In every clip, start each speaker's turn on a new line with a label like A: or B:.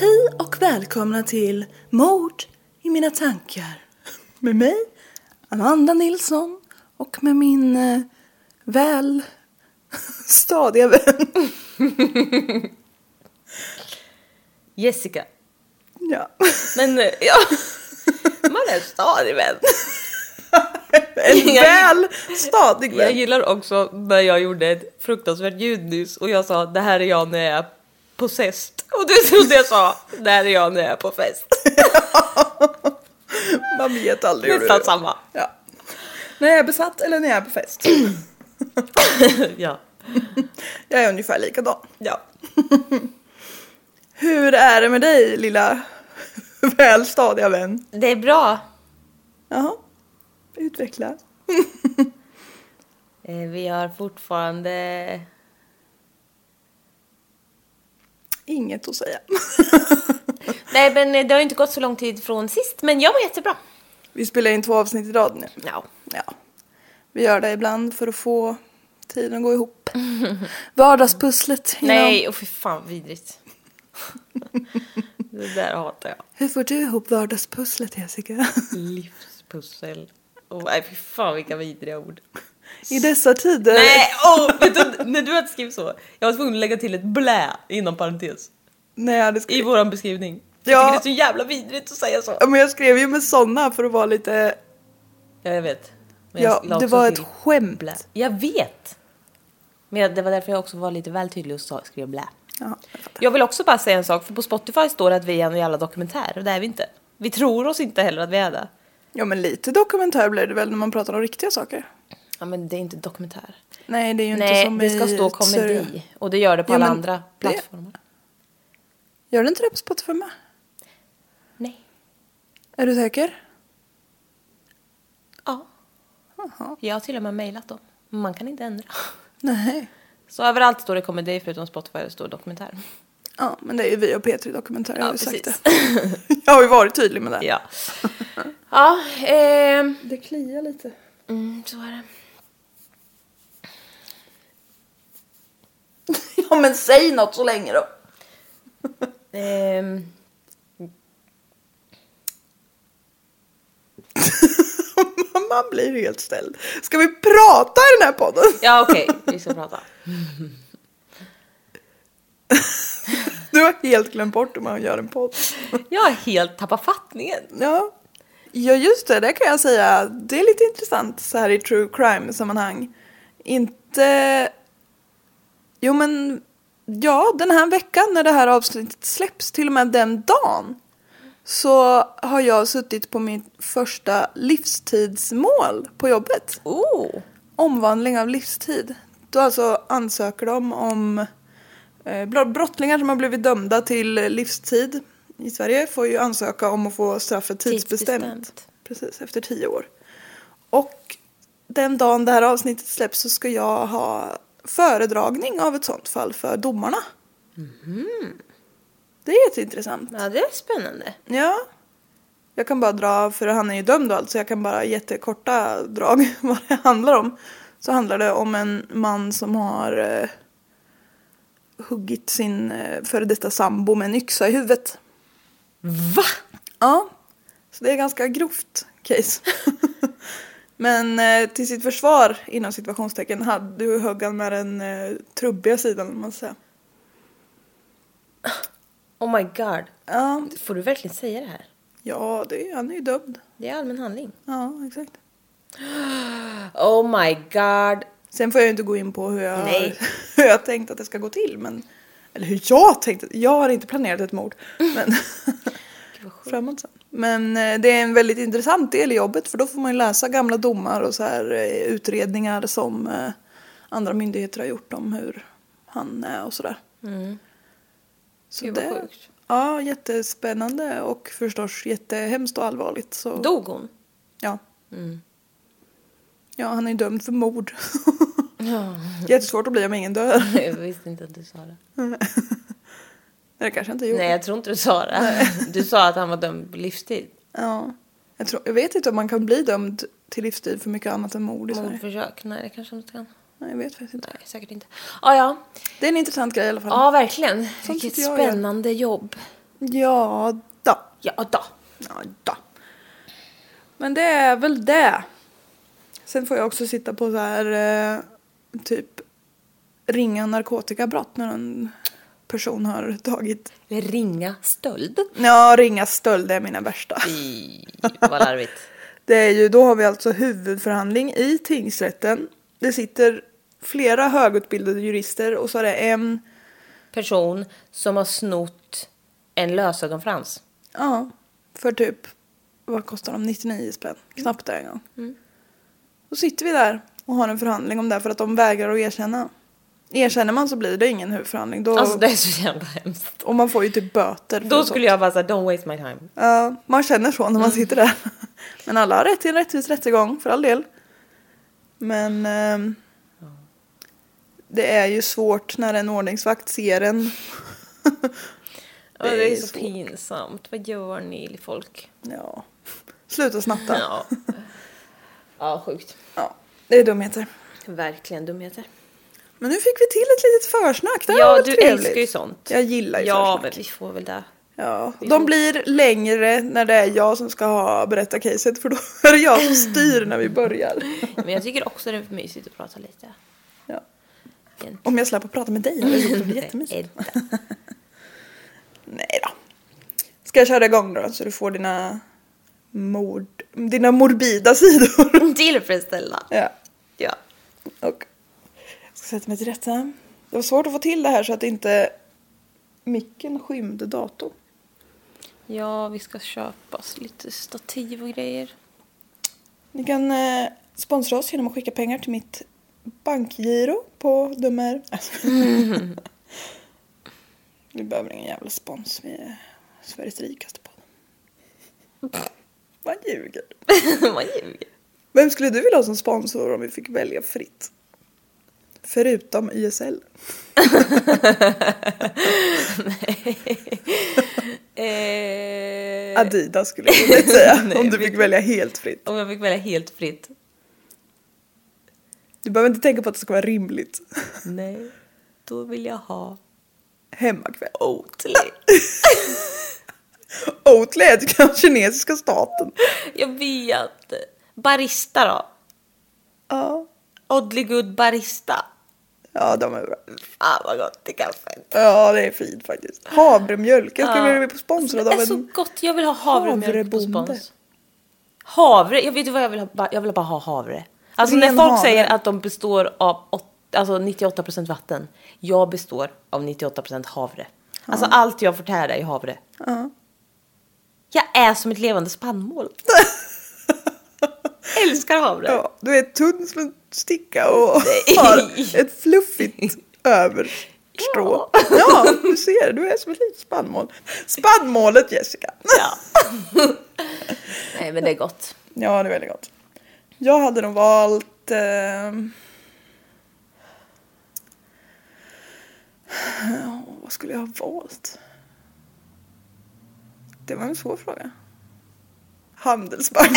A: Hej och välkomna till Mord i mina tankar. Med mig, Amanda Nilsson och med min eh, väl stadiga vän.
B: Jessica.
A: Ja.
B: Men eh, ja, man är en stadig vän.
A: En väl stadig
B: Jag
A: vän.
B: gillar också när jag gjorde ett fruktansvärt ljud nyss och jag sa det här är jag när jag är på fest. Och du trodde jag sa det här är jag när jag är på fest.
A: Man vet aldrig hur det
B: Nästan
A: är.
B: samma.
A: Ja. När jag är besatt eller när jag är på fest.
B: Ja.
A: Jag är ungefär likadan.
B: ja.
A: Hur är det med dig lilla väl stadiga vän?
B: Det är bra.
A: Jaha, utveckla.
B: Eh, Vi har fortfarande...
A: Inget att säga.
B: Nej men eh, det har ju inte gått så lång tid från sist men jag mår jättebra.
A: Vi spelar in två avsnitt i rad nu.
B: Ja.
A: Ja. Vi gör det ibland för att få tiden att gå ihop. Vardagspusslet. you know.
B: Nej, och fy fan vidrigt. det där hatar jag.
A: Hur får du ihop vardagspusslet Jessica?
B: Livspussel. Oh, nej fy fan vilka vidriga ord.
A: I dessa tider.
B: Nej, oh, vet du, när du hade skrivit så, jag var tvungen att lägga till ett blä inom parentes
A: Nej, jag hade
B: i
A: skrivit.
B: våran beskrivning.
A: Ja.
B: Jag tycker det är så jävla vidrigt att säga så.
A: Ja, men jag skrev ju med sådana för att vara lite...
B: Ja, jag vet. Men
A: Ja,
B: jag la
A: det
B: också
A: var
B: till
A: ett skämt.
B: blä. Jag vet. Men jag- det var därför jag också var lite väl tydlig och sa, skrev blä.
A: Ja.
B: Jag vill också bara säga en sak, för på Spotify står det att vi är en jävla dokumentär och det är vi inte. Vi tror oss inte heller att vi är det.
A: ja, men lite dokumentär blir det väl när man pratar om riktiga saker?
B: Ja men det är inte dokumentär.
A: Nej, det är ju inte
B: Nej,
A: som
B: det ska
A: i
B: stå
A: ett serial.
B: komedi. Och det gör det på
A: Jo,
B: alla
A: men
B: andra
A: det-
B: plattformar.
A: Gör du inte det på Spotify med?
B: Nej.
A: Är du säker?
B: Ja. Jag har till och med mejlat dem. Men Man kan inte ändra.
A: Nej.
B: Så överallt står det komedi förutom Spotify där det står dokumentär.
A: Ja, men det är ju vi och Petri dokumentär. jag har ju sagt det.
B: precis.
A: Jag har ju varit tydlig med det.
B: ja. Ja, ehm,
A: Det kliar lite.
B: mm, så är det.
A: Ja men säg något så länge då.
B: Ehm,
A: Man blir helt ställd. Ska vi prata i den här podden?
B: ja okej, vi ska prata.
A: Du har helt glömt bort hur man gör en podd.
B: Jag har helt tappat fattningen.
A: Ja. ja, just det. Det kan jag säga. Det är lite intressant så här i true crime-sammanhang. Inte... Jo, men... Ja, den här veckan när det här avsnittet släpps, till och med den dagen så har jag suttit på mitt första livstidsmål på jobbet.
B: Oh.
A: Omvandling av livstid. Då alltså ansöker de om eh, bl- brottslingar som har blivit dömda till livstid i Sverige får ju ansöka om att få straffet tidsbestämt.
B: Tidsbestämt.
A: Precis, efter tio år. Och den dagen det här avsnittet släpps så ska jag ha föredragning av ett sånt fall för domarna. Det är jätteintressant.
B: Ja det är spännande.
A: Ja. Jag kan bara dra, för han är ju dömd och allt, så jag kan bara jättekorta drag vad det handlar om. Så handlar det om en man som har eh, huggit sin eh, före detta sambo med en yxa i huvudet.
B: Va?
A: Ja, så det är ganska grovt case. Men eh, till sitt försvar, inom situationstecken, hade du huggan med den eh, trubbiga sidan, om man säger.
B: Oh my god.
A: Ja,
B: Får du verkligen säga det här?
A: ja det, han är ju dömd.
B: Det är allmän handling.
A: Ja, exakt.
B: Oh my god.
A: Sen får jag ju inte gå in på hur jag,
B: Nej.
A: hur jag tänkt att det ska gå till. Men, eller hur jag tänkte. Jag har inte planerat ett mord. Men, framåt sen. men eh, det är en väldigt intressant del i jobbet för då får man ju läsa gamla domar och så här, eh, utredningar som eh, andra myndigheter har gjort om hur han är och sådär. Så
B: Mm. Gud, vad sjukt.
A: Ja, jättespännande och förstås jättehemskt och allvarligt. Så,
B: Dog hon?
A: Ja.
B: Mm.
A: Ja, han är ju dömd för mord. Jättesvårt att bli om ingen dör.
B: Jag visste inte att du sa det.
A: Det kanske inte gjorde.
B: Nej jag tror inte du sa det. Du sa att han var dömd på livstid.
A: Ja. Jag, tror, jag vet inte om man kan bli dömd till livstid för mycket annat än mord i Sverige.
B: Mordförsök? Nej det kanske inte kan.
A: Nej, jag vet faktiskt inte.
B: Nej säkert inte. Ah, ja
A: Det är en intressant grej i alla fall.
B: ja, verkligen. Vilket
A: sitter jag och gör.
B: spännande jobb.
A: Ja, då.
B: Ja då.
A: Ja, då. Men det är väl det. Sen får jag också sitta på så här eh, typ ringa narkotikabrott när en person har tagit.
B: Eller ringa stöld.
A: Ja, ringa stöld det är mina värsta.
B: I, vad larvigt.
A: Det är ju, då har vi alltså huvudförhandling i tingsrätten. Det sitter flera högutbildade jurister och så är det en...
B: Person som har snott en lösögonfrans.
A: Ja, för typ... Vad kostar de? 99 spänn. Knappt det en gång.
B: Mm.
A: Då sitter vi där och har en förhandling om det här för att de vägrar att erkänna. Erkänner man så blir det ingen huvudförhandling. Då,
B: Alltså det är så jävla hemskt.
A: Och man får ju typ böter. för
B: Då
A: sånt.
B: skulle jag bara säga don't waste my time.
A: Ja, man känner så
B: Mm.
A: när man sitter där. Men alla har rätt till en rättvis rättegång, för all del. Men ehm, det är ju svårt när en ordningsvakt ser en.
B: Det är, det är så
A: svårt.
B: pinsamt. Vad gör ni folk?
A: Ja. Sluta snatta. Ja.
B: Ja. ja, sjukt.
A: det är dumheter.
B: Verkligen dumheter.
A: Men nu fick vi till ett litet försnack. Det här var
B: Ja,
A: väl
B: du
A: trevligt.
B: älskar ju sånt.
A: Jag gillar ju
B: Ja, men
A: försnack.
B: vi får väl det.
A: Ja. De blir längre när det är jag som ska ha berätta caset för då är det jag som styr när vi börjar.
B: Men jag tycker också det är mysigt att prata lite.
A: Ja.
B: Egentligen.
A: Om jag slapp att prata med dig hade jag gjort det jättemysigt.
B: Edda.
A: Nej då. Ska jag köra igång då så du får dina mord, dina morbida sidor?
B: Tillfredsställa.
A: ja.
B: Ja.
A: Och jag ska sätta mig till rätta. Det var svårt att få till det här så att inte micken skymde datorn.
B: ja, vi ska köpa oss lite stativ och grejer.
A: Ni kan eh, sponsra oss genom att skicka pengar till mitt bankgiro på dummer. Vi behöver ingen jävla spons. Vi är Sveriges rikaste podd. Man ljuger.
B: Man ljuger.
A: Vem skulle du vilja ha som sponsor om vi fick välja fritt? Förutom YSL.
B: Eh,
A: Adidas skulle jag vilja säga
B: Nej,
A: om du
B: vi-
A: fick välja helt fritt.
B: om jag fick välja helt fritt.
A: Du behöver inte tänka på att det ska vara rimligt.
B: Nej. Då vill jag ha...
A: Hemmakväll. Oatly. Oatly är typ den kinesiska staten.
B: Jag vet. Barista då?
A: Ja.
B: Oddly good barista.
A: Ja, de är bra.
B: Fan vad gott i kaffet.
A: Ja, det är fint faktiskt. Havremjölk. Jag skulle vilja bli sponsrad
B: Det
A: av
B: är så
A: en...
B: gott. Jag vill ha havremjölk på
A: Havrebonde.
B: spons. Havre. Jag vet ju vad jag vill ha. Ba- Jag vill bara ha havre. Alltså
A: Ren
B: när folk
A: havre.
B: säger att de består av åt- alltså 98% vatten. Jag består av 98% havre. Alltså allt jag förtär är havre.
A: Ja.
B: Jag är som ett levande spannmål. Älskar havre.
A: Ja, du är tunn som en sticka och
B: Nej.
A: har ett fluffigt överstrå.
B: Ja.
A: Ja. du ser, du är som ett litet spannmål. Spannmålet Jessica.
B: Ja. Nej men det är gott.
A: Ja, det är väldigt gott. Jag hade nog valt... ehm, ja, vad skulle jag ha valt? Det var en svår fråga. Handelsbanken.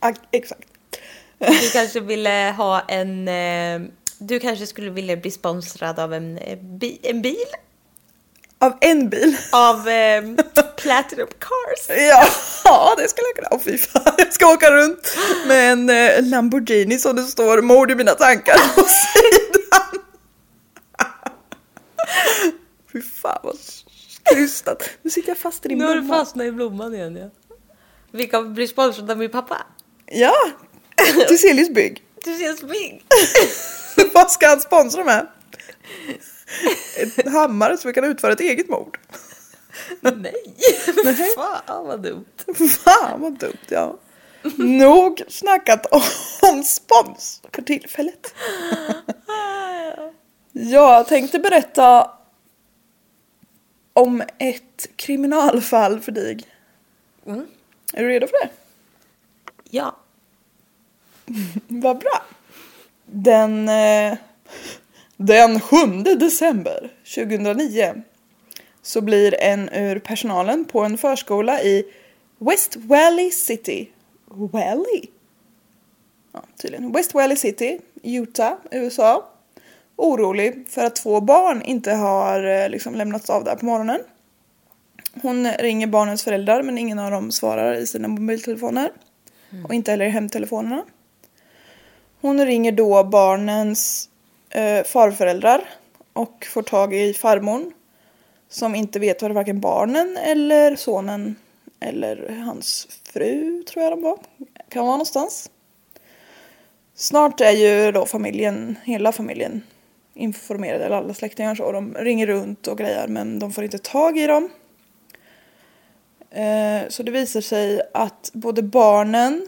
A: Ah, Exakt.
B: Du kanske ville ha en... eh, Du kanske skulle vilja bli sponsrad av en, eh, bi, en bil?
A: Av en bil.
B: Av eh, Platinum Cars?
A: Ja, ja, det skulle jag kunna. Åh fy fan, jag ska åka runt med en eh, Lamborghini som det står mord i mina tankar på sidan. Fy fan vad krystat. Nu sitter jag fast i din
B: Nu har du
A: blomma.
B: fastnat i blomman igen ja. Vi kan bli sponsrade av min pappa.
A: Ja, till Siljus bygg.
B: Du ser smink!
A: vad ska han sponsra med? En hammare som vi kan utföra ett eget mord.
B: Nej! Fan vad dumt.
A: Fan vad dumt ja. Nog snackat om spons för tillfället. Jag tänkte berätta om ett kriminalfall för dig. Är du redo för det?
B: Ja.
A: Vad bra. Den, eh, den 7 december 2009 så blir en ur personalen på en förskola i West Valley City. Valley? Ja, tydligen. West Valley City, Utah, USA. Orolig för att två barn inte har eh, liksom, lämnats av där på morgonen. Hon ringer barnens föräldrar men ingen av dem svarar i sina mobiltelefoner. Och inte heller i hemtelefonerna. Hon ringer då barnens eh, farföräldrar och får tag i farmor som inte vet var varken barnen eller sonen eller hans fru tror jag de var kan vara någonstans. Snart är ju då familjen, hela familjen informerad eller alla släktingar så och de ringer runt och grejer men de får inte tag i dem. Eh, Så det visar sig att både barnen,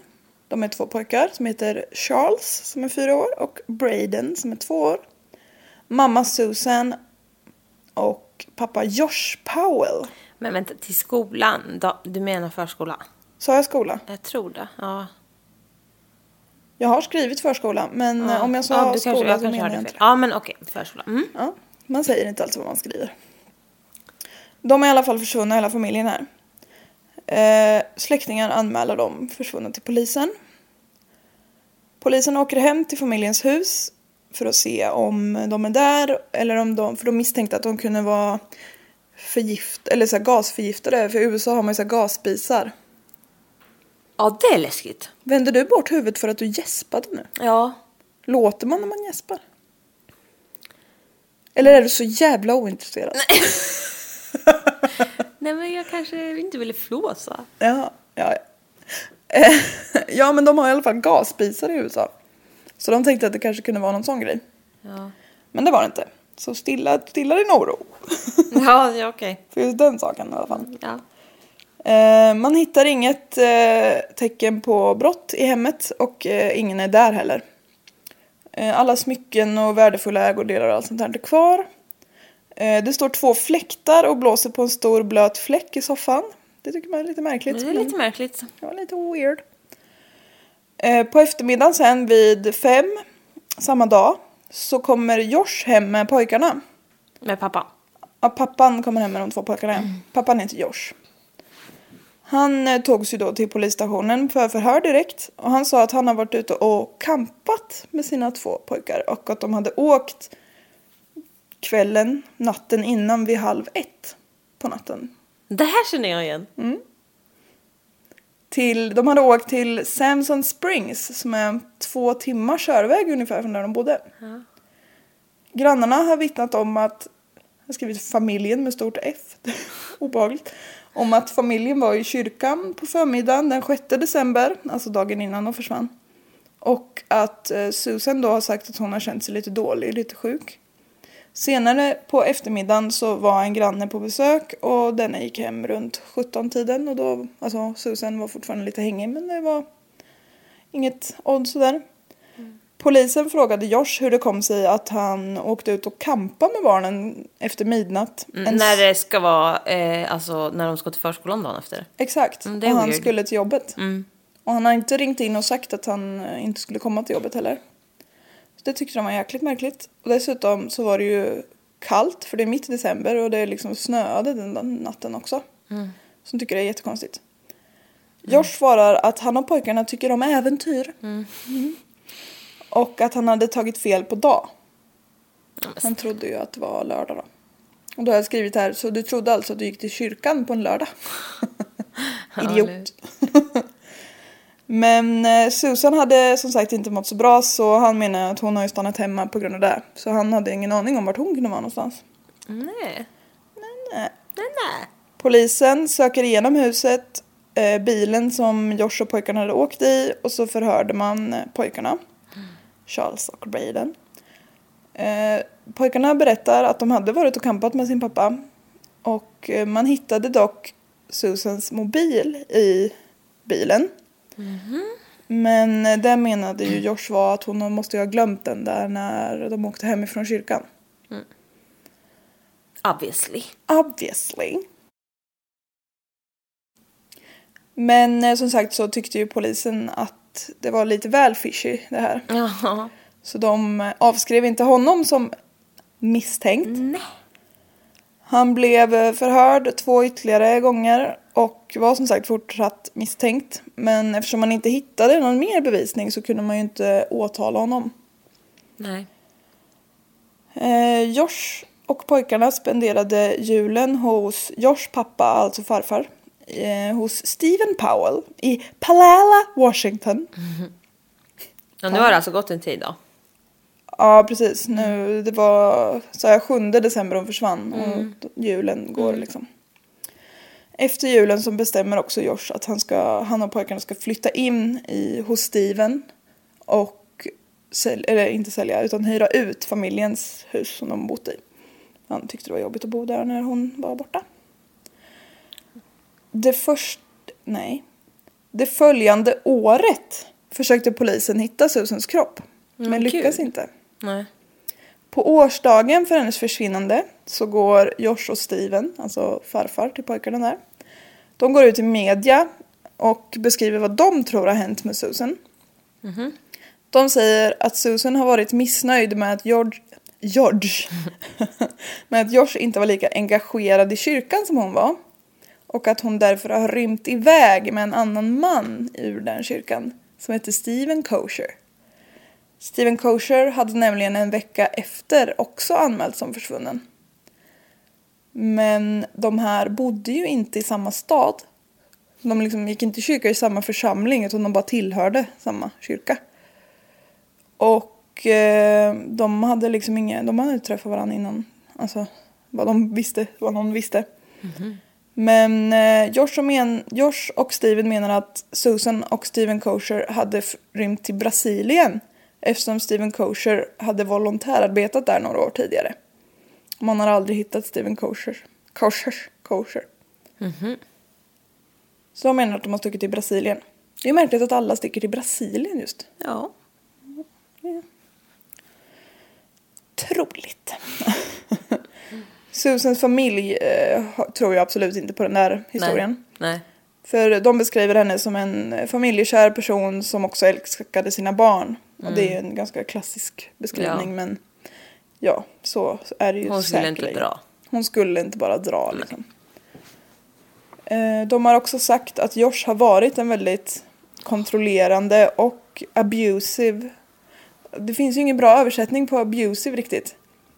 A: de är två pojkar som heter Charles som är fyra år och Braden som är två år. Mamma Susan och pappa Josh Powell.
B: Men vänta, till skolan då? Du menar förskola?
A: Sa jag skola?
B: Jag tror det. Ja.
A: Jag har skrivit förskola men eh, om jag sa
B: ja, du
A: skola
B: kanske, jag
A: så
B: kanske
A: menar
B: hörde
A: jag
B: fel.
A: inte det.
B: Ja men okej, förskola. Mm.
A: Ja, man säger inte alltid vad man skriver. De är i alla fall försvunna, hela familjen här. Eh, släktingar anmäler dem försvunna till polisen. Polisen åker hem till familjens hus för att se om de är där eller om de, för de misstänkte att de kunde vara förgift, eller så här gasförgiftade, för i USA har man ju så här gasspisar.
B: Ja det är läskigt.
A: Vänder du bort huvudet för att du gäspade nu?
B: Ja.
A: Låter man när man gäspar? Eller är du så jävla ointresserad?
B: Nej men jag kanske inte ville flåsa.
A: Ja, ja. Eh, ja men de har i alla fall gasspisar i USA. Så de tänkte att det kanske kunde vara någon sån grej.
B: Ja,
A: Men det var det inte. Så stilla, stilla din oro.
B: ja, ja okej.
A: För just den saken i alla fall.
B: Ja.
A: Eh, man hittar inget eh, tecken på brott i hemmet och eh, ingen är där heller. Eh, alla smycken och värdefulla ägodelar och allt sånt där är kvar. Eh, det står två fläktar och blåser på en stor blöt fläck i soffan. Det tycker man är lite märkligt.
B: Det är
A: men-
B: lite märkligt.
A: Det var lite weird. Eh, På eftermiddagen sen vid fem samma dag så kommer Josh hem med pojkarna.
B: Med pappa.
A: Ja, pappan kommer hem med de två pojkarna. Pappan heter Josh. Han eh, togs ju då till polisstationen för förhör direkt och han sa att han har varit ute och kampat med sina två pojkar och att de hade åkt kvällen, natten innan vid halv ett på natten.
B: Det här känner jag igen.
A: Till, de hade åkt till Samson Springs som är två timmar körväg ungefär från där de bodde. Grannarna har vittnat om att, jag har skrivit familjen med stort F, det är obehagligt, om att familjen var i kyrkan på förmiddagen den 6 december, alltså dagen innan de försvann. Och att eh, Susan då har sagt att hon har känt sig lite dålig, lite sjuk. Senare på eftermiddagen så var en granne på besök och denna gick hem runt 17-tiden och då, alltså Susan var fortfarande lite hängig men det var inget odds sådär.
B: Mm.
A: Polisen frågade Josh hur det kom sig att han åkte ut och kampa med barnen efter midnatt. En
B: Mm, När det ska vara, eh, alltså när de ska till förskolan dagen efter.
A: Exakt.
B: Mm, det är
A: och han
B: weird. Mm.
A: skulle till jobbet. Och han har inte ringt in och sagt att han eh, inte skulle komma till jobbet heller. Så det tyckte de var jäkligt märkligt. Och dessutom så var det ju kallt för det är mitt i december och det liksom snöade den där natten också.
B: Mm.
A: Så de tycker det är jättekonstigt. Josh svarar att han och pojkarna tycker om äventyr. Mm. Och att han hade tagit fel på dag. Han trodde ju att det var lördag då. Och då har jag skrivit här, så du trodde alltså att du gick till kyrkan på en lördag? Idiot. Men eh, Susan hade som sagt inte mått så bra så han menar att hon har ju stannat hemma på grund av det. Så han hade ingen aning om vart hon kunde vara någonstans. eh,
B: Nej.
A: Nej.
B: Nej, nej.
A: Polisen söker igenom huset, eh, bilen som Josh och pojkarna hade åkt i och så förhörde man eh, pojkarna. Charles och Braden. Eh, pojkarna berättar att de hade varit och campat med sin pappa. Och eh, man hittade dock Susans mobil i bilen. Men eh, det menade ju Josh var att hon måste ju ha glömt den där när de åkte hemifrån kyrkan.
B: Obviously.
A: Obviously. Men eh, som sagt så tyckte ju polisen att det var lite väl fishy det här.
B: Ja.
A: Så de eh, avskrev inte honom som misstänkt. Han blev eh, förhörd två ytterligare gånger och var som sagt fortsatt misstänkt. Men eftersom man inte hittade någon mer bevisning så kunde man ju inte åtala honom.
B: Nej.
A: Eh, Josh och pojkarna spenderade julen hos Josh pappa, alltså farfar, eh, hos Stephen Powell i Palala, Washington.
B: Ja, nu har det alltså gått en tid då.
A: Ja, precis. Nu, det var så här, 7 december de försvann och då- julen går liksom. Efter julen så bestämmer också Josh att han, ska, han och pojkarna ska flytta in i, hos Steven och sälj, eller inte sälja utan hyra ut familjens hus som de bott i. Han tyckte det var jobbigt att bo där när hon var borta. Det först... Nej. Det följande året försökte polisen hitta Susans kropp. men lyckas
B: kul.
A: inte.
B: Nej.
A: På årsdagen för hennes försvinnande så går Josh och Steven, alltså farfar till pojkarna där. De går ut i media och beskriver vad de tror har hänt med Susan. De säger att Susan har varit missnöjd med att George, George med att Josh inte var lika engagerad i kyrkan som hon var. Och att hon därför har rymt iväg med en annan man ur den kyrkan som heter Steven Kosher. Steven Kosher hade nämligen en vecka efter också anmälts som försvunnen. Men de här bodde ju inte i samma stad. De liksom gick inte i kyrka i samma församling utan de bara tillhörde samma kyrka. Och eh, de hade liksom inga, de hade inte träffat varandra innan. Alltså vad de visste, vad någon visste. Men eh, Josh, och men, Josh och Steven menar att Susan och Steven Kosher hade f- rymt till Brasilien eftersom Steven Kosher hade volontärarbetat där några år tidigare. Man har aldrig hittat Steven Kosher. Kosher. Kosher. Så de menar att de har stuckit till Brasilien. Det är märkligt att alla sticker till Brasilien just.
B: Ja.
A: Troligt. Susans familj eh, ha- tror jag absolut inte på den där historien.
B: Nej.
A: För de beskriver henne som en familjekär person som också älskade sina barn. Och det är ju en ganska klassisk beskrivning
B: Mm. Ja.
A: men ja, så är det ju
B: Hon skulle inte
A: säkerligen.
B: dra.
A: Hon skulle inte bara dra liksom. Eh, De har också sagt att Josh har varit en väldigt kontrollerande och abusive. Det finns ju ingen bra översättning på abusive riktigt.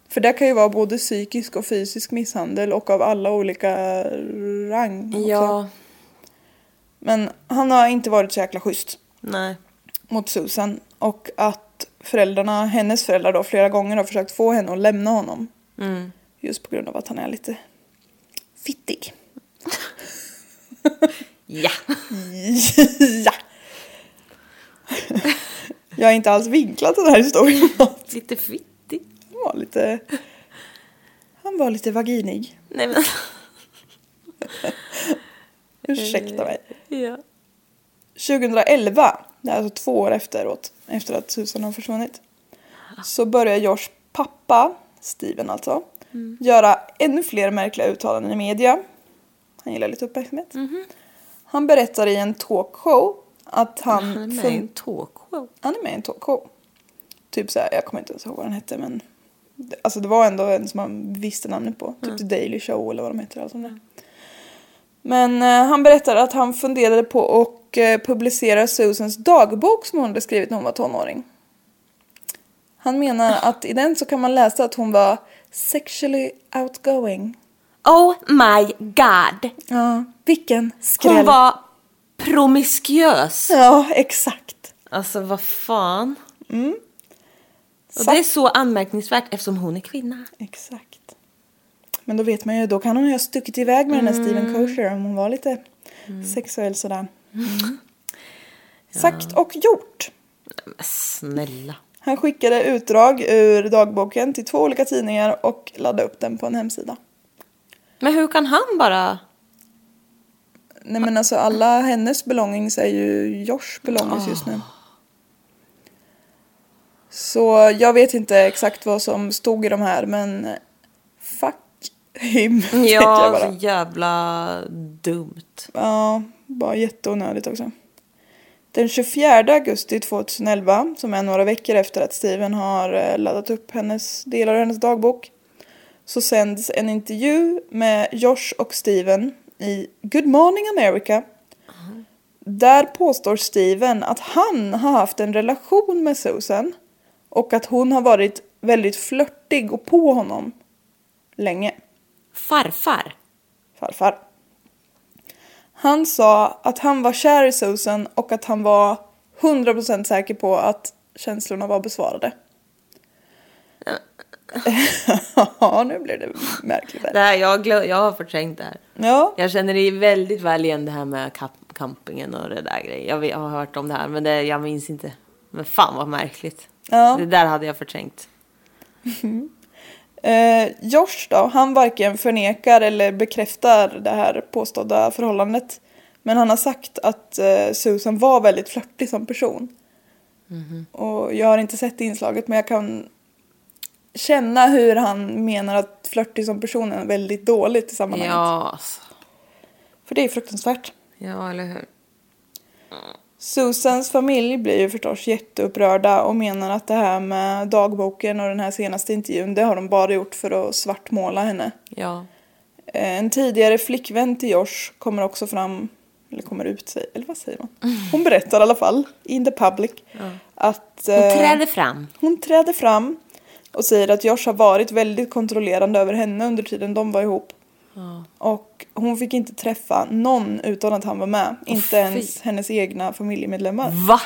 A: För det kan ju vara både psykisk och fysisk misshandel och av alla olika rang. också.
B: Ja,
A: Men han har inte varit så jäkla schysst
B: nej.
A: mot Susan och att föräldrarna, hennes föräldrar då flera gånger har försökt få henne att lämna honom. Just på grund av att han är lite fittig.
B: Ja.
A: ja. Jag är inte alls vinklat den här historien.
B: Lite fittig.
A: Han var lite... Han var lite vaginig.
B: Nej men.
A: Ursäkta mig.
B: Ja.
A: 2011, det är alltså två år efteråt, efter att Susan har försvunnit, så börjar Josh pappa, Steven alltså, göra ännu fler märkliga uttalanden i media. Han gillar lite uppmärksamhet. Han berättar i en talkshow att han...
B: Han är med i
A: fun-
B: en talkshow.
A: Han är med i en talkshow. Typ så här, jag kommer inte ens ihåg vad den hette men det- Alltså det var ändå en som man visste namnet på.
B: Mm.
A: Typ The Daily Show eller vad de heter. Alltså det. Men eh, han berättade att han funderade på och eh, publicera Susans dagbok som hon hade skrivit när hon var tonåring. Han menar att i den så kan man läsa att hon var sexually outgoing.
B: Oh my god!
A: Ja, vilken skräll.
B: Hon var promiskuös.
A: Ja, exakt.
B: Alltså vad fan. Och
A: Sa-
B: det är så anmärkningsvärt eftersom hon är kvinna.
A: Exakt. Men då vet man ju, då kan hon ju ha stuckit iväg med den här Steven Kosher om hon var lite sexuell sådär. Sagt och gjort.
B: Snälla.
A: Han skickade utdrag ur dagboken till två olika tidningar och laddade upp den på en hemsida.
B: Men hur kan han bara...
A: Nej men alltså alla hennes belongings är ju Josh belongings just nu. Så jag vet inte exakt vad som stod i de här men fuck him. tänkte jag
B: Ja,
A: bara.
B: så jävla dumt.
A: Ja, bara jätteonödigt också. Den 24 augusti 2011, som är några veckor efter att Steven har eh, laddat upp hennes delar av hennes dagbok, så sänds en intervju med Josh och Steven i Good Morning America. Där påstår Steven att han har haft en relation med Susan och att hon har varit väldigt flörtig och på honom länge
B: Farfar?
A: farfar. Han sa att han var kär i Susan och att han var 100% säker på att känslorna var besvarade. ja, nu blev det märkligt.
B: Det
A: Där.
B: här, jag, glö- jag har förträngt det här.
A: Ja,
B: Jag känner det väldigt väl igen det här med kap- campingen och det där grejen. Jag, vet- jag har hört om det här men det, jag minns inte. Men fan vad märkligt.
A: Ja.
B: Det där hade jag förträngt.
A: eh, Josh då, han varken förnekar eller bekräftar det här påstådda förhållandet. Men han har sagt att eh, Susan var väldigt flörtig som person. Och jag har inte sett inslaget men jag kan känna hur han menar att flörtig som person är väldigt dåligt i sammanhanget.
B: Ja, alltså.
A: För det är fruktansvärt.
B: ja eller hur.
A: Susans familj blir ju förstås jätteupprörda och menar att det här med dagboken och den här senaste intervjun det har de bara gjort för att svartmåla henne.
B: Ja.
A: Eh, En tidigare flickvän till Josh kommer också fram, eller kommer ut, sig- eller vad säger man? Hon berättar i alla fall, in the public, att...
B: Hon
A: eh,
B: trädde fram.
A: Hon träder fram och säger att Josh har varit väldigt kontrollerande över henne under tiden de var ihop. Och hon fick inte träffa någon utan att han var med. inte ens hennes egna familjemedlemmar.
B: Va?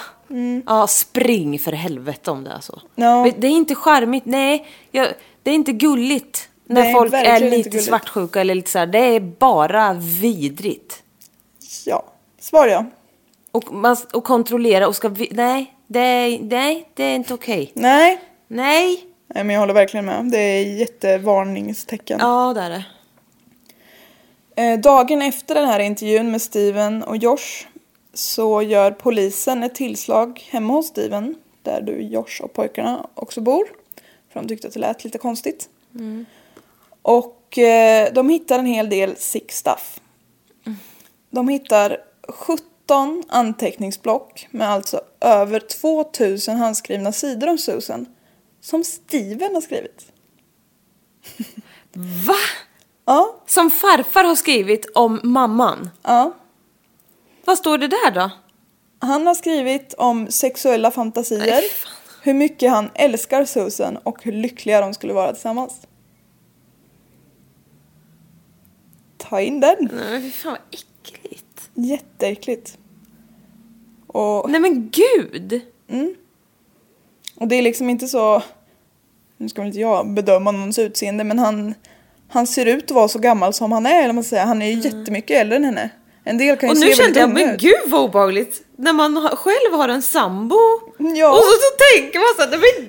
B: Ja, spring för helvete om det är så.
A: Mm. Ja.
B: Men Det är inte charmigt, nej. Jag, det är inte gulligt när
A: Nej,
B: folk är
A: verkligen inte
B: lite
A: gulligt.
B: svartsjuka eller lite så här. Det är bara vidrigt.
A: Ja, svar ja.
B: Och, man, och kontrollera och ska... Vi, nej, det, är- nej, det är inte okej.
A: Nej.
B: Nej.
A: Nej men jag håller verkligen med. Det är jättevarningstecken.
B: Ja, det är det.
A: Eh, dagen efter den här intervjun med Steven och Josh så gör polisen ett tillslag hemma hos Steven där du, Josh och pojkarna också bor. För de tyckte att det lät lite konstigt. Och eh, de hittar en hel del sick stuff. De hittar 17 anteckningsblock med alltså över 2000 handskrivna sidor om Susan. Som Steven har skrivit.
B: Va?
A: Ja,
B: Som farfar har skrivit om mamman.
A: ja.
B: Vad står det där då?
A: Han har skrivit om sexuella fantasier,
B: Nej, fan.
A: hur mycket han älskar Susan och hur lyckliga de skulle vara tillsammans. Ta in den.
B: Nej men fy fan vad äckligt.
A: Jätteäckligt. Och,
B: Nej men gud!
A: och det är liksom inte så... Nu ska väl inte jag bedöma någons utseende men han, han ser ut att vara så gammal som han är. Eller vad man ska säga. Han är ju jättemycket äldre än henne. En del kan ju
B: Mm. Och
A: se
B: nu
A: väldigt
B: kände jag,
A: unga
B: men
A: ut.
B: gud vad obehagligt. När man har, själv har en sambo.
A: Ja.
B: Och så, så tänker man såhär, nej men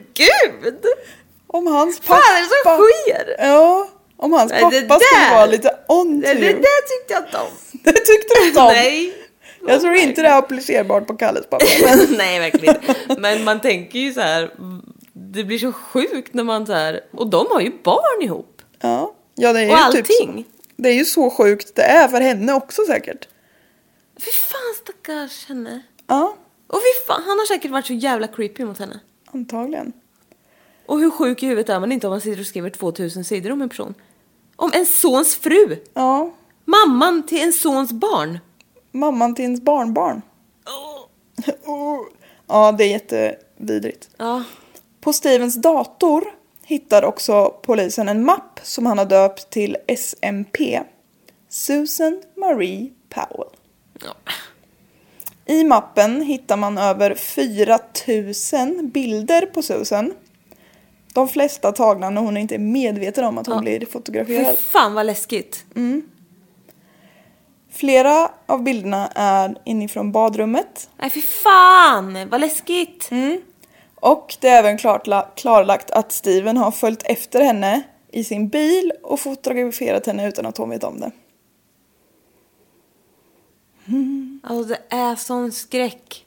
B: gud!
A: Om hans pappa...
B: Vad är det som sker?
A: Ja, om hans
B: Nej,
A: pappa
B: det
A: skulle
B: där-
A: vara lite on to
B: Nej, det
A: you.
B: där tyckte jag inte om.
A: Det tyckte du inte Typ. om.
B: Nej.
A: Jag tror inte det är applicerbart på Kalles pappa. Men
B: Nej verkligen inte. Men man tänker ju så här. det blir så sjukt när man så här. och de har ju barn ihop.
A: ja. ja, det är
B: Och
A: ju typ så.
B: allting.
A: Det är ju så sjukt det är för henne också säkert.
B: Fy fan stackars henne.
A: Ja,
B: Och fy fan, han har säkert varit så jävla creepy mot henne.
A: antagligen.
B: Och hur sjuk i huvudet är man inte om man sitter och skriver 2000 sidor om en person? Om en sons fru!
A: Ja,
B: Mamman till en sons barn!
A: mamman till ens barnbarn. Oh. Ja, det är jättevidrigt.
B: Ja,
A: På Stevens dator hittar också polisen en mapp som han har döpt till SMP. Susan Marie Powell. I mappen hittar man över 4000 bilder på Susan. De flesta tagna när hon inte är medveten om att hon blir
B: fy
A: fotograferad.
B: fan vad läskigt.
A: Flera av bilderna är inifrån badrummet.
B: Nej fy fan vad läskigt.
A: Och det är även klartla- klarlagt att Steven har följt efter henne i sin bil och fotograferat henne utan att hon vet om det.
B: Alltså det är sån skräck.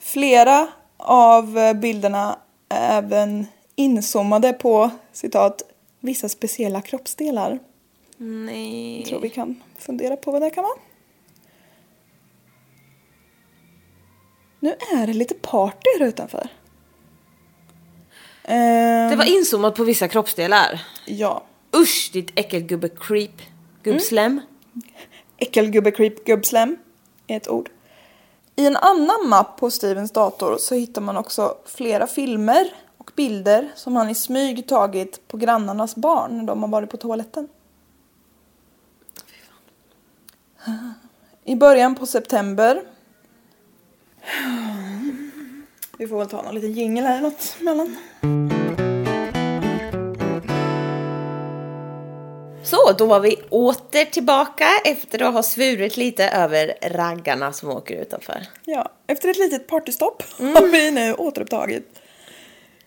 A: Flera av eh, bilderna är även inzoomade på citat vissa speciella kroppsdelar.
B: Nej. Eh.
A: Jag tror vi kan fundera på vad det kan vara. Nu är det lite party här utanför. Ehm,
B: Det var inzoomat på vissa kroppsdelar.
A: Ja.
B: Usch ditt äckelgubbe creep. Gubbslem.
A: Äckelgubbe-creep-gubbslem är ett ord. I en annan mapp på Stevens dator så hittar man också flera filmer och bilder som han i smyg tagit på grannarnas barn när de har varit på toaletten. I början på september... Vi får väl ta någon liten jingel här eller något mellan.
B: Så, då var vi åter tillbaka efter att ha svurit lite över raggarna som åker utanför.
A: Ja, efter ett litet partystopp har vi nu återupptagit.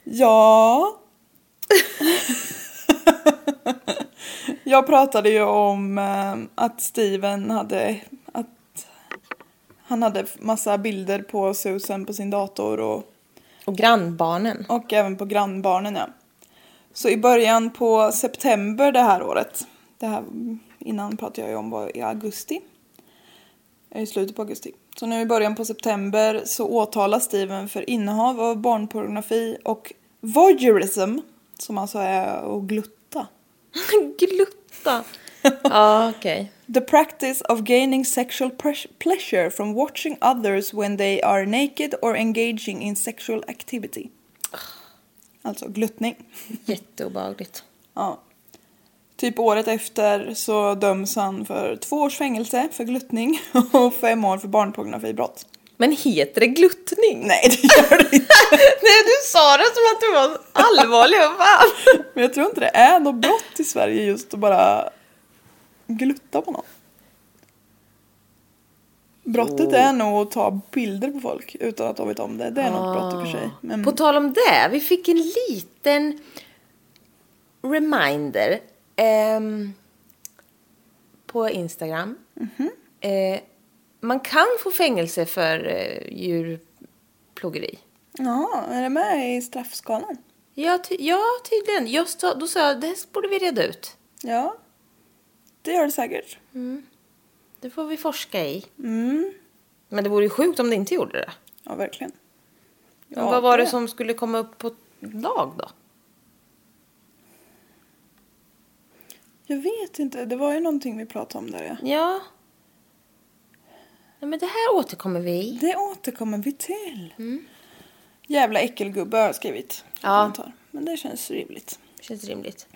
A: Ja. Jag pratade ju om eh, att Steven hade att han hade massa bilder på Susan på sin dator och,
B: Och grannbarnen.
A: och även på grannbarnen ja. Så i början på september det här året, det här innan pratade jag ju om var i augusti, Eh, i slutet på augusti. Så nu i början på september så åtalas Steven för innehav av barnpornografi och voyeurism, som alltså är att glutta.
B: Glutta. Ja, okej.
A: The practice of gaining sexual pres- pleasure from watching others when they are naked or engaging in sexual activity. Alltså gluttning.
B: Jätteobehagligt.
A: Ja. Typ året efter så döms han för två års fängelse för gluttning och fem år för barnpornografibrott.
B: Men heter det gluttning?
A: Nej, det gör det inte.
B: Nej, du sa det som att du var allvarlig. vad fan.
A: Men jag tror inte det är något brott i Sverige just att bara glutta på någon. Brottet är nog att ta bilder på folk utan att de vet om det. Det är något brott i och för sig. Men
B: Ah. Mm. På tal om det, vi fick en liten reminder ehm, på Instagram. Eh, man kan få fängelse för eh, djurplågeri.
A: ja, är det med i straffskalan?
B: Ja, ty- ja, tydligen. Jag sa- då sa jag det här borde vi reda ut.
A: Ja, det gör det säkert. Mm.
B: Det får vi forska i. Men det vore ju sjukt om det inte gjorde det.
A: Ja, verkligen.
B: Men
A: Ja,
B: vad var det.
A: det.
B: som skulle komma upp på lag då?
A: Jag vet inte, det var ju någonting vi pratade om där ja.
B: Ja. Nej, men det här återkommer vi i.
A: Det återkommer vi till. Jävla äckelgubbe har jag skrivit. i
B: Ja.
A: kommentar. Men det känns rimligt.
B: Känns rimligt.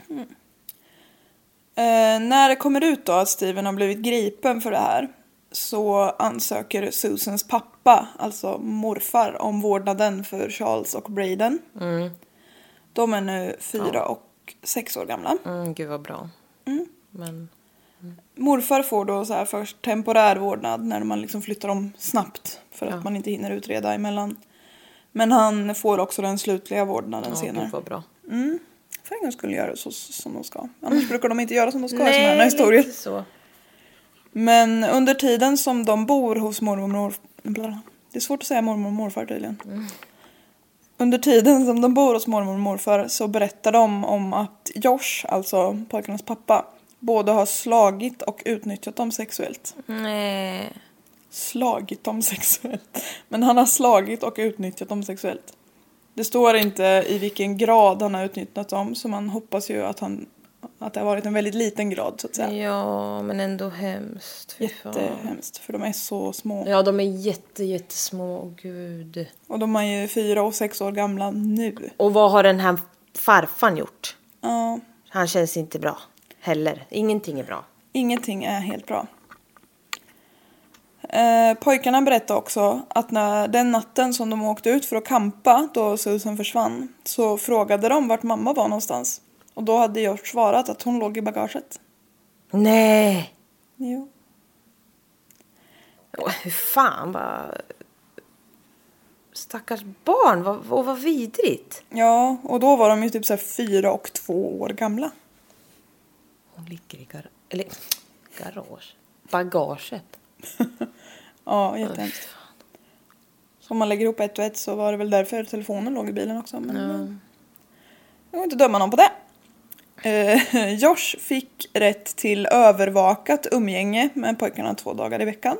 A: Eh, när det kommer ut då att Steven har blivit gripen för det här så ansöker Susans pappa, alltså morfar, om vårdnaden för Charles och Braden. De är nu fyra och sex år gamla.
B: Mm, gud vad bra. Men
A: Morfar får då så här först temporär vårdnad när man liksom flyttar dem snabbt för att man inte hinner utreda emellan. Men han får också den slutliga vårdnaden
B: ja,
A: senare.
B: gud vad bra.
A: För en gång skulle göra så som de ska. Annars brukar de inte göra som de ska i sådana här historier.
B: lite så.
A: Men under tiden som de bor hos mormor och morfar... Det är svårt att säga mormor och morfar tydligen.
B: Mm.
A: Under tiden som de bor hos mormor och morfar så berättar de om att Josh, alltså pojkarnas pappa, både har slagit och utnyttjat dem sexuellt.
B: Nej.
A: Slagit dem sexuellt. Men han har slagit och utnyttjat dem sexuellt. Det står inte i vilken grad han har utnyttjat dem så man hoppas ju att, han, att det har varit en väldigt liten grad så att säga.
B: Ja, men ändå hemskt. Fy fan.
A: Jättehemskt för de är så små.
B: Ja, de är jätte, jättesmå. Åh, Gud.
A: Och de är ju fyra och sex år gamla nu.
B: Och vad har den här farfan gjort?
A: Ja,
B: Han känns inte bra heller. Ingenting är bra.
A: ingenting är helt bra. Eh, pojkarna berättar också att när den natten som de åkte ut för att kampa då Susan försvann så frågade de vart mamma var någonstans. Och då hade jag svarat att hon låg i bagaget.
B: Nej!
A: Jo.
B: Åh, Hur fan vad... Stackars barn, vad, och vad vidrigt.
A: Ja, och då var de ju typ så här fyra och två år gamla.
B: Hon ligger i gar... Eller garage. Bagaget.
A: Ja, jättehemskt. Så om man lägger ihop ett och ett så var det väl därför telefonen låg i bilen också. Men eh, jag går inte döma någon på det. Eh, Josh fick rätt till övervakat umgänge med pojkarna två dagar i veckan.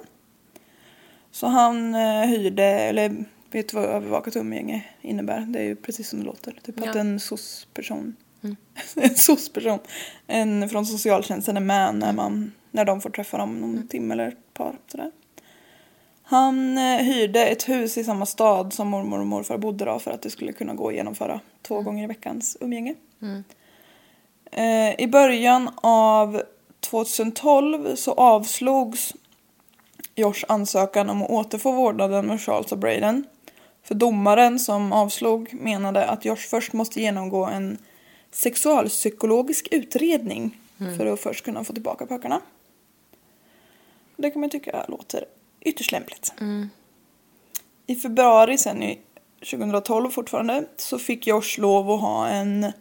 A: Så han eh, hyrde, eller vet du vad övervakat umgänge innebär? Det är ju precis som det låter. Typ att en soc-person, en soc-person, en från socialtjänsten är med när, man, när de får träffa dem någon timme eller ett par. Sådär. Han eh, hyrde ett hus i samma stad som mormor och morfar bodde då för att det skulle kunna gå att genomföra två gånger i veckans umgänge. Eh, I början av 2012 så avslogs Josh ansökan om att återfå vårdnaden med Charles och Braden. För domaren som avslog menade att Josh först måste genomgå en sexualpsykologisk utredning för att först kunna få tillbaka pojkarna. Det kan man tycka låter ytterst lämpligt. I februari sen i 2012 fortfarande så fick Josh lov att ha en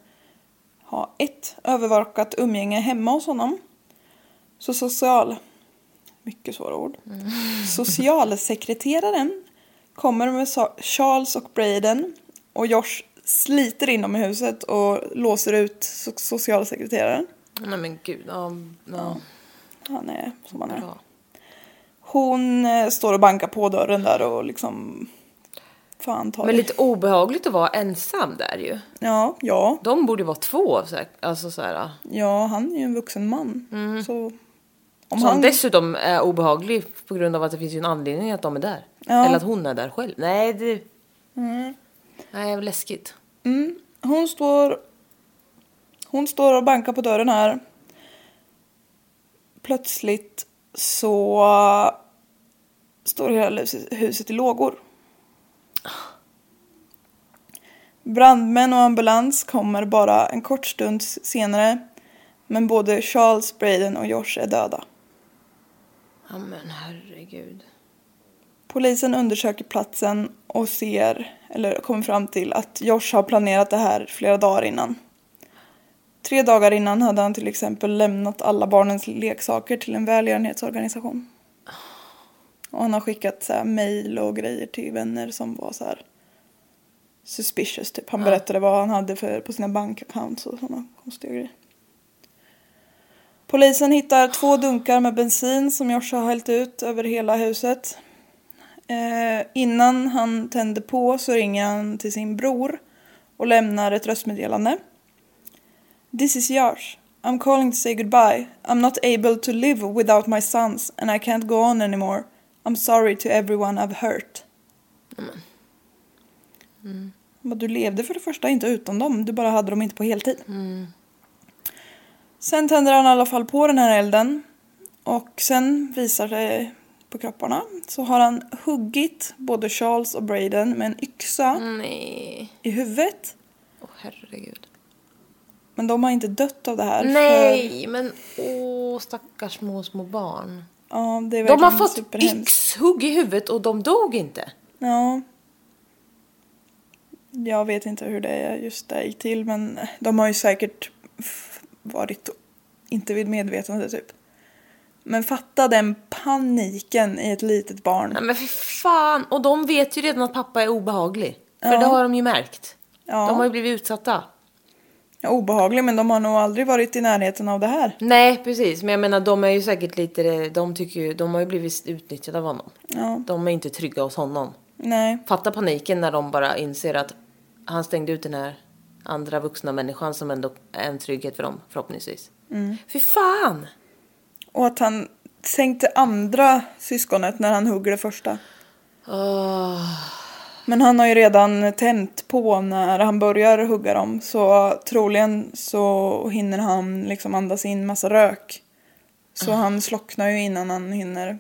A: ha ett övervakat umgänge hemma hos honom. Så social... Mycket svåra ord. Socialsekreteraren kommer med Sa- Charles och Braden och Josh sliter in dem i huset och låser ut so- socialsekreteraren.
B: Nej men gud, ja. ja.
A: Han är som han är.
B: Bra.
A: Hon eh, står och bankar på dörren där och liksom... Fan ta
B: Men
A: dig.
B: lite obehagligt att vara ensam där ju.
A: Ja, ja.
B: De borde vara två. så här- Alltså så här.
A: Ja, han är ju en vuxen man. Så... Om
B: Mm. Som
A: han...
B: dessutom är obehaglig på grund av att det finns ju en anledning att de är där.
A: Ja.
B: Eller att hon är där själv. Nej, det... Nej, vad läskigt.
A: Mm. Hon står... Hon står och bankar på dörren här. Plötsligt så står hela huset- huset i lågor. Brandmän och ambulans kommer bara en kort stund senare. Men både Charles, Braden och Josh är döda.
B: Ja men herregud.
A: Polisen undersöker platsen och ser, eller kommer fram till att Josh har planerat det här flera dagar innan. Tre dagar innan hade han till exempel lämnat alla barnens leksaker till en välgörenhetsorganisation. Och han har skickat så här mejl och grejer till vänner som var så här suspicious typ. Han berättade vad han hade för, på sina bankaccounts och sådana konstiga grejer. Polisen hittar två dunkar med bensin som Josh har hällt ut över hela huset. Eh, innan han tänder på så ringer han till sin bror och lämnar ett röstmeddelande. This is Josh. I I'm calling to say goodbye. I'm not able to live without my sons and I can't go on anymore. I'm sorry to everyone I've hurt. Men Du levde för det första inte utan dem, du bara hade dem inte på heltid. Sen tänder han i alla fall på den här elden. Och sen visar det på kropparna så har han huggit både Charles och Braden med en yxa
B: Mm. Nej.
A: i huvudet.
B: Åh herregud.
A: Men de har inte dött av det här.
B: Nej, men åh stackars små, små barn.
A: För, ja, det är
B: De har
A: verkligen
B: fått
A: superhemskt.
B: yxhugg i huvudet och de dog inte.
A: Ja. Jag vet inte hur det just där gick till men de har ju säkert f- varit inte vid medvetande typ. Men fatta den paniken i ett litet barn.
B: Nej men för fan, och de vet ju redan att pappa är obehaglig. För det har de ju märkt.
A: Ja.
B: De har ju blivit utsatta.
A: Ja, obehaglig men de har nog aldrig varit i närheten av det här.
B: Nej precis, men jag menar de är ju säkert lite, de tycker ju, de har ju blivit utnyttjade av honom.
A: Ja.
B: De är inte trygga hos honom.
A: Nej.
B: Fatta paniken när de bara inser att han stängde ut den här andra vuxna människan som ändå är en trygghet för dem förhoppningsvis. Mm. Fy fan!
A: Och att han sänkte andra syskonet när han hugger det första.
B: Åh.
A: Men han har ju redan tänt på när han börjar hugga dem så troligen så hinner han liksom andas in massa rök. Så han slocknar ju innan han hinner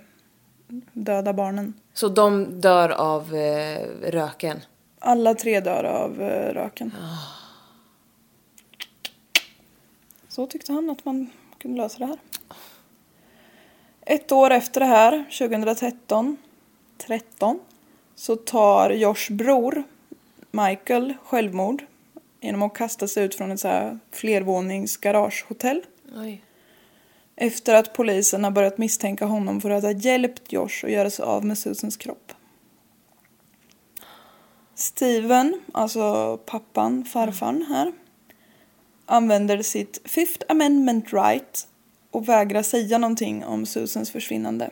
A: döda barnen.
B: Så de dör av eh, röken.
A: Alla tre dör av eh, röken. Så tyckte han att man kunde lösa det här. Ett år efter det här, 2013, 13, så tar Joshs bror Michael självmord genom att kasta sig ut från ett så här flervåningsgaragehotell.
B: Oj.
A: Efter att polisen har börjat misstänka honom för att ha hjälpt Josh att göra sig av med Susans kropp. Steven, alltså pappan, farfarn här, använder sitt Fifth Amendment right och vägrar säga någonting om Susans försvinnande.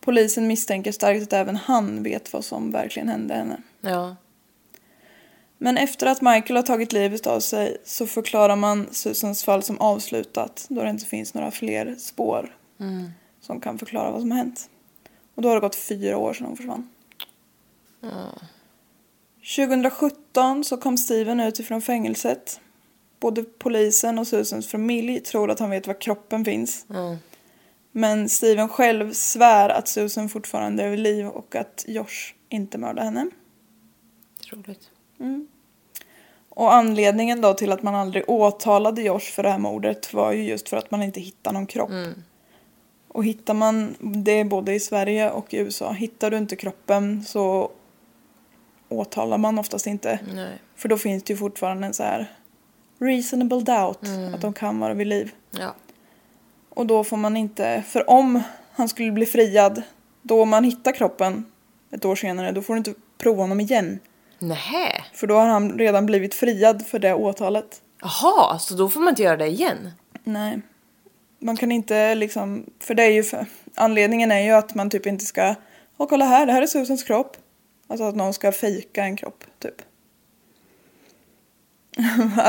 A: Polisen misstänker starkt att även han vet vad som verkligen hände henne.
B: Ja.
A: Men efter att Michael har tagit livet av sig så förklarar man Susans fall som avslutat då det inte finns några fler spår som kan förklara vad som har hänt. Och då har det gått fyra år sedan hon försvann. 2017 så kom Steven ut ifrån fängelset. Både polisen och Susans familj tror att han vet var kroppen finns. Men Steven själv svär att Susan fortfarande är vid liv och att Josh inte mördade henne.
B: Roligt.
A: Och anledningen då till att man aldrig åtalade Josh för det här mordet var ju just för att man inte hittade någon kropp. Och hittar man, det är både i Sverige och i USA, hittar du inte kroppen så åtalar man oftast inte.
B: Nej.
A: För då finns det ju fortfarande en så här reasonable doubt att de kan vara vid liv.
B: Ja.
A: Och då får man inte, för om han skulle bli friad, då man hittar kroppen ett år senare, då får du inte prova honom igen.
B: Nähä.
A: För då har han redan blivit friad för det åtalet.
B: Jaha, så då får man inte göra det igen?
A: Nej. Man kan inte liksom, för det är ju för, anledningen är ju att man typ inte ska, åh kolla här, det här är Susans kropp. Alltså att någon ska fejka en kropp, typ.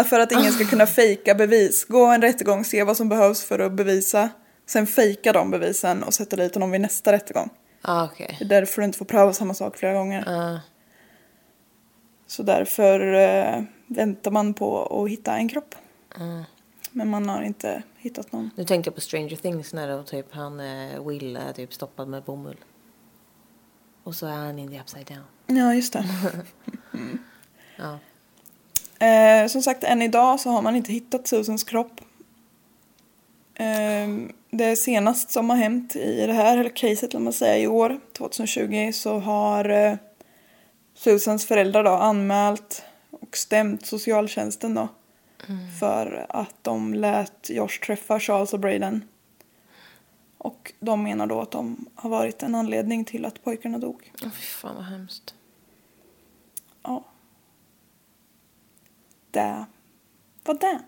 A: för att ingen ska kunna fejka bevis. Gå en rättegång, se vad som behövs för att bevisa. Sen fejka de bevisen och sätta dit honom vid nästa rättegång.
B: Ah, Okej.
A: Det är därför du inte får pröva samma sak flera gånger.
B: Ah.
A: Så därför eh, väntar man på att hitta en kropp. Men man har inte hittat någon.
B: Nu tänkte jag på Stranger Things när då typ han eh, Will är typ stoppad med bomull. Och så är han in the upside down.
A: Ja, just det.
B: Ja.
A: Eh, som sagt, än idag så har man inte hittat Susans kropp. Eh, det senast som har hänt i det här eller caset, låt man säga, i år, 2020, så har eh, Susans föräldrar då anmält och stämt socialtjänsten då. För att de lät Josh träffa Charles och Braden. Och de menar då att de har varit en anledning till att pojkarna dog.
B: Åh fy fan vad hemskt.
A: Ja. Det var det.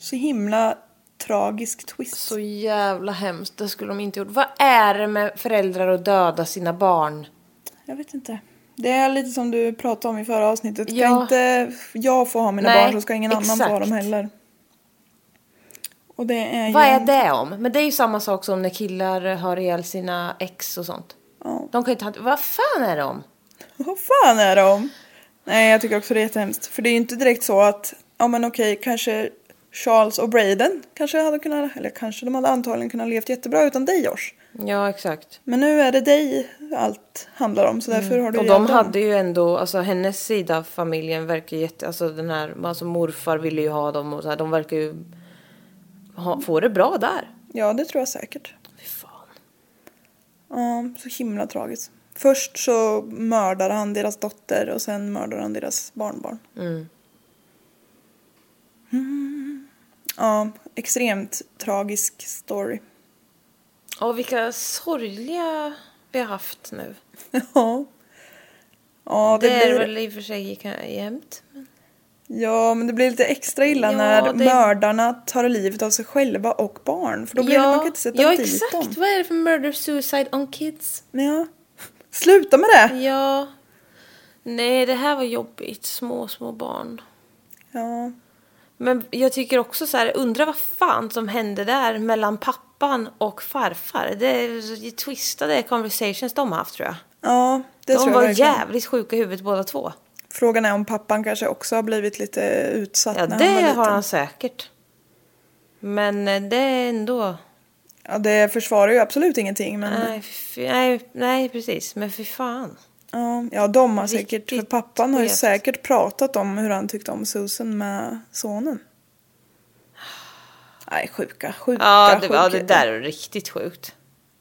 A: Så himla tragisk twist.
B: Så jävla hemskt, det skulle de inte gjort. Vad är det med föräldrar att döda sina barn?
A: Jag vet inte. Det är lite som du pratade om i förra avsnittet. Ska
B: Ja.
A: inte jag få ha mina
B: Nej,
A: barn så ska ingen annan
B: exakt.
A: få dem heller. Och det är
B: Vad
A: ju...
B: är det om? Men det är ju samma sak som när killar har ihjäl sina ex och sånt.
A: Ja.
B: De kan ju inte hantera... Vad fan är det om?
A: Vad fan är det om? Nej, jag tycker också det är jättehemskt. För det är ju inte direkt så att, ja men okej, kanske Charles och Braden kanske hade kunnat, eller kanske de hade antagligen kunnat levt jättebra utan dig Josh.
B: Ja, exakt.
A: Men nu är det dig allt handlar om så därför har du
B: Mm. Och
A: ihjäl
B: de
A: dem.
B: hade ju ändå, alltså hennes sida av familjen verkar ju jätte, alltså den här, alltså morfar ville ju ha dem och så här, de verkar ju ha, få det bra där.
A: Ja, det tror jag säkert.
B: Fy fan.
A: Ja, så himla tragiskt. Först så mördar han deras dotter och sen mördar han deras barnbarn. Mm. Ja, extremt tragisk story.
B: Och vilka sorgliga vi har haft nu.
A: Ja. Ja,
B: Det,
A: det,
B: är
A: blir...
B: väl i och för sig kan- jämnt. men-
A: Ja, men det blir lite extra illa
B: Ja,
A: när
B: det-
A: mördarna tar livet av sig själva och barn. För då blir det, man kan inte sätta
B: ja
A: dit
B: exakt.
A: dem.
B: Vad är det för murder suicide on kids?
A: Ja. Sluta med det!
B: Ja. Nej, det här var jobbigt. Små, små barn.
A: Ja.
B: Men jag tycker också så här, undrar vad fan som hände där mellan pappan och farfar. Det är så twistade conversations de har haft tror jag.
A: Ja, det
B: de
A: tror jag
B: var
A: verkligen.
B: jävligt sjuka i huvudet båda två.
A: Frågan är om pappan kanske också har blivit lite utsatt
B: Ja,
A: när
B: det
A: han var liten.
B: har han säkert. Men eh, det är ändå...
A: Ja, det försvarar ju absolut ingenting. Men
B: Nej, fy, nej, nej, precis. Men fy fan.
A: ja, ja, de har säkert... För
B: Riktigt
A: pappan har ju
B: skevt.
A: säkert pratat om hur han tyckte om Susan med sonen. Nej, sjuka, sjuka,
B: Ja, det,
A: sjuka.
B: ja, det där är riktigt sjukt.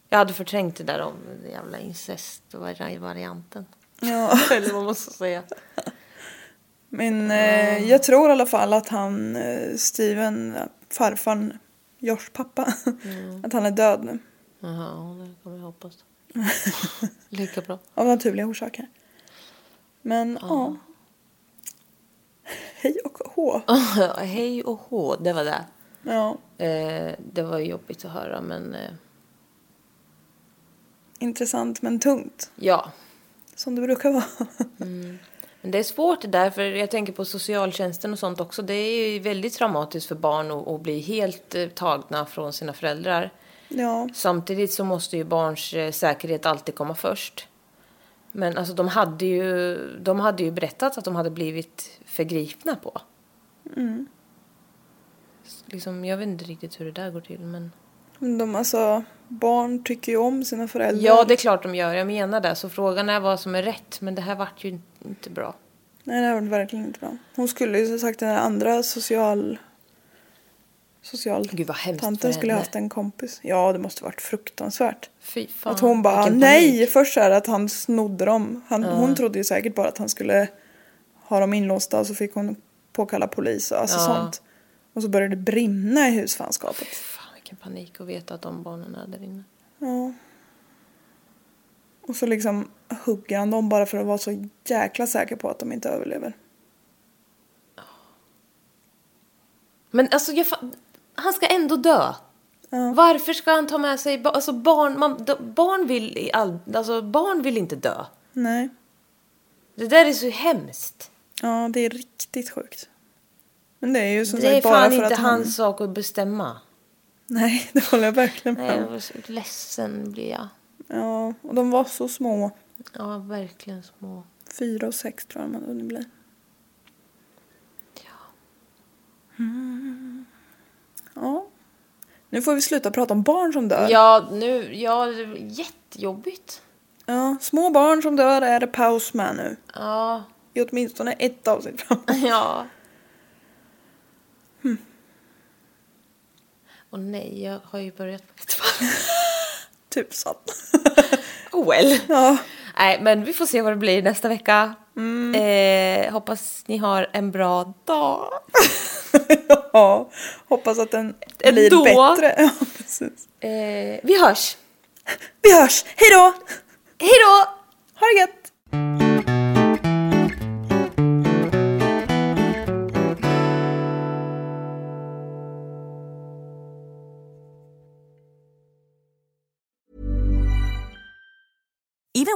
B: Jag hade förträngt det där om den jävla incest-varianten.
A: Ja.
B: Eller vad man ska säga.
A: Men
B: Mm.
A: eh, jag tror i alla fall att han, eh, Steven, farfarn, Josh pappa,
B: Mm.
A: att han är död nu.
B: Jaha, det kommer jag hoppas. Lika bra.
A: Av naturliga orsaker. Men ja. Hej och hå.
B: Hej och hå, det var det.
A: Ja,
B: Eh, det var jobbigt att höra, men eh,
A: intressant men tungt.
B: ja.
A: Som det brukar vara.
B: Men det är svårt det där, för jag tänker på socialtjänsten och sånt också. Det är ju väldigt traumatiskt för barn att, att bli helt eh, tagna från sina föräldrar.
A: ja,
B: Samtidigt så måste ju barns eh, säkerhet alltid komma först. Men alltså de hade ju, de hade ju berättat att de hade blivit förgripna på. S- Liksom, jag vet inte riktigt hur det där går till men...
A: de alltså, barn tycker ju om sina föräldrar.
B: Ja, det är klart de gör. Jag menar det. Så frågan är vad som är rätt. Men det här vart ju in- inte bra.
A: Nej, det här var verkligen inte bra. Hon skulle ju som sagt den där andra social... Social...
B: Gud, vad hemskt
A: Tanten
B: för
A: skulle
B: henne.
A: haft en kompis. Ja, det måste varit fruktansvärt.
B: Fy fan.
A: Att hon bara,
B: vilken
A: nej!
B: panik.
A: Först så här att han snodde dem. Han, Hon trodde ju säkert bara att han skulle ha dem inlåsta och så fick hon påkalla polis och alltså
B: Ja.
A: sånt. Och så började det brinna i husfanskapet.
B: Fan, vilken panik att veta att de barnen är där inne.
A: Ja. Och så liksom hugger han dem bara för att vara så jäkla säker på att de inte överlever.
B: Men alltså, jag fa- han ska ändå dö.
A: Ja.
B: Varför ska han ta med sig ba- alltså, barn? Man, d- barn, vill i all- alltså, barn vill inte dö.
A: Nej.
B: Det där är så hemskt.
A: Ja, det är riktigt sjukt. Men det är ju som
B: det är
A: sagt bara
B: fan
A: för
B: inte
A: att han...
B: hans sak att bestämma.
A: Nej, det håller jag verkligen
B: Nej, jag
A: med om.
B: var så ledsen blir jag.
A: Ja, och de var så små.
B: Ja, verkligen små.
A: Fyra och sex tror jag man hunnit bli. Ja. Mm. Ja. Nu får vi sluta prata om barn som dör.
B: Ja, nu, ja, det är jättejobbigt.
A: Ja, små barn som dör är det paus med nu.
B: Ja,
A: I åtminstone ett avsnitt framåt.
B: ja. Hm. Och nej, jag har ju börjat på ett fall.
A: Tusan.
B: Oh well.
A: Typ Ja.
B: Nej, men vi får se vad det blir nästa vecka. Eh, hoppas ni har en bra dag.
A: ja. Hoppas att den
B: Ändå.
A: blir bättre. Ja, precis.
B: Eh, vi hörs.
A: Vi hörs. Hej då!
B: Hej då!
A: Ha det gött!
C: even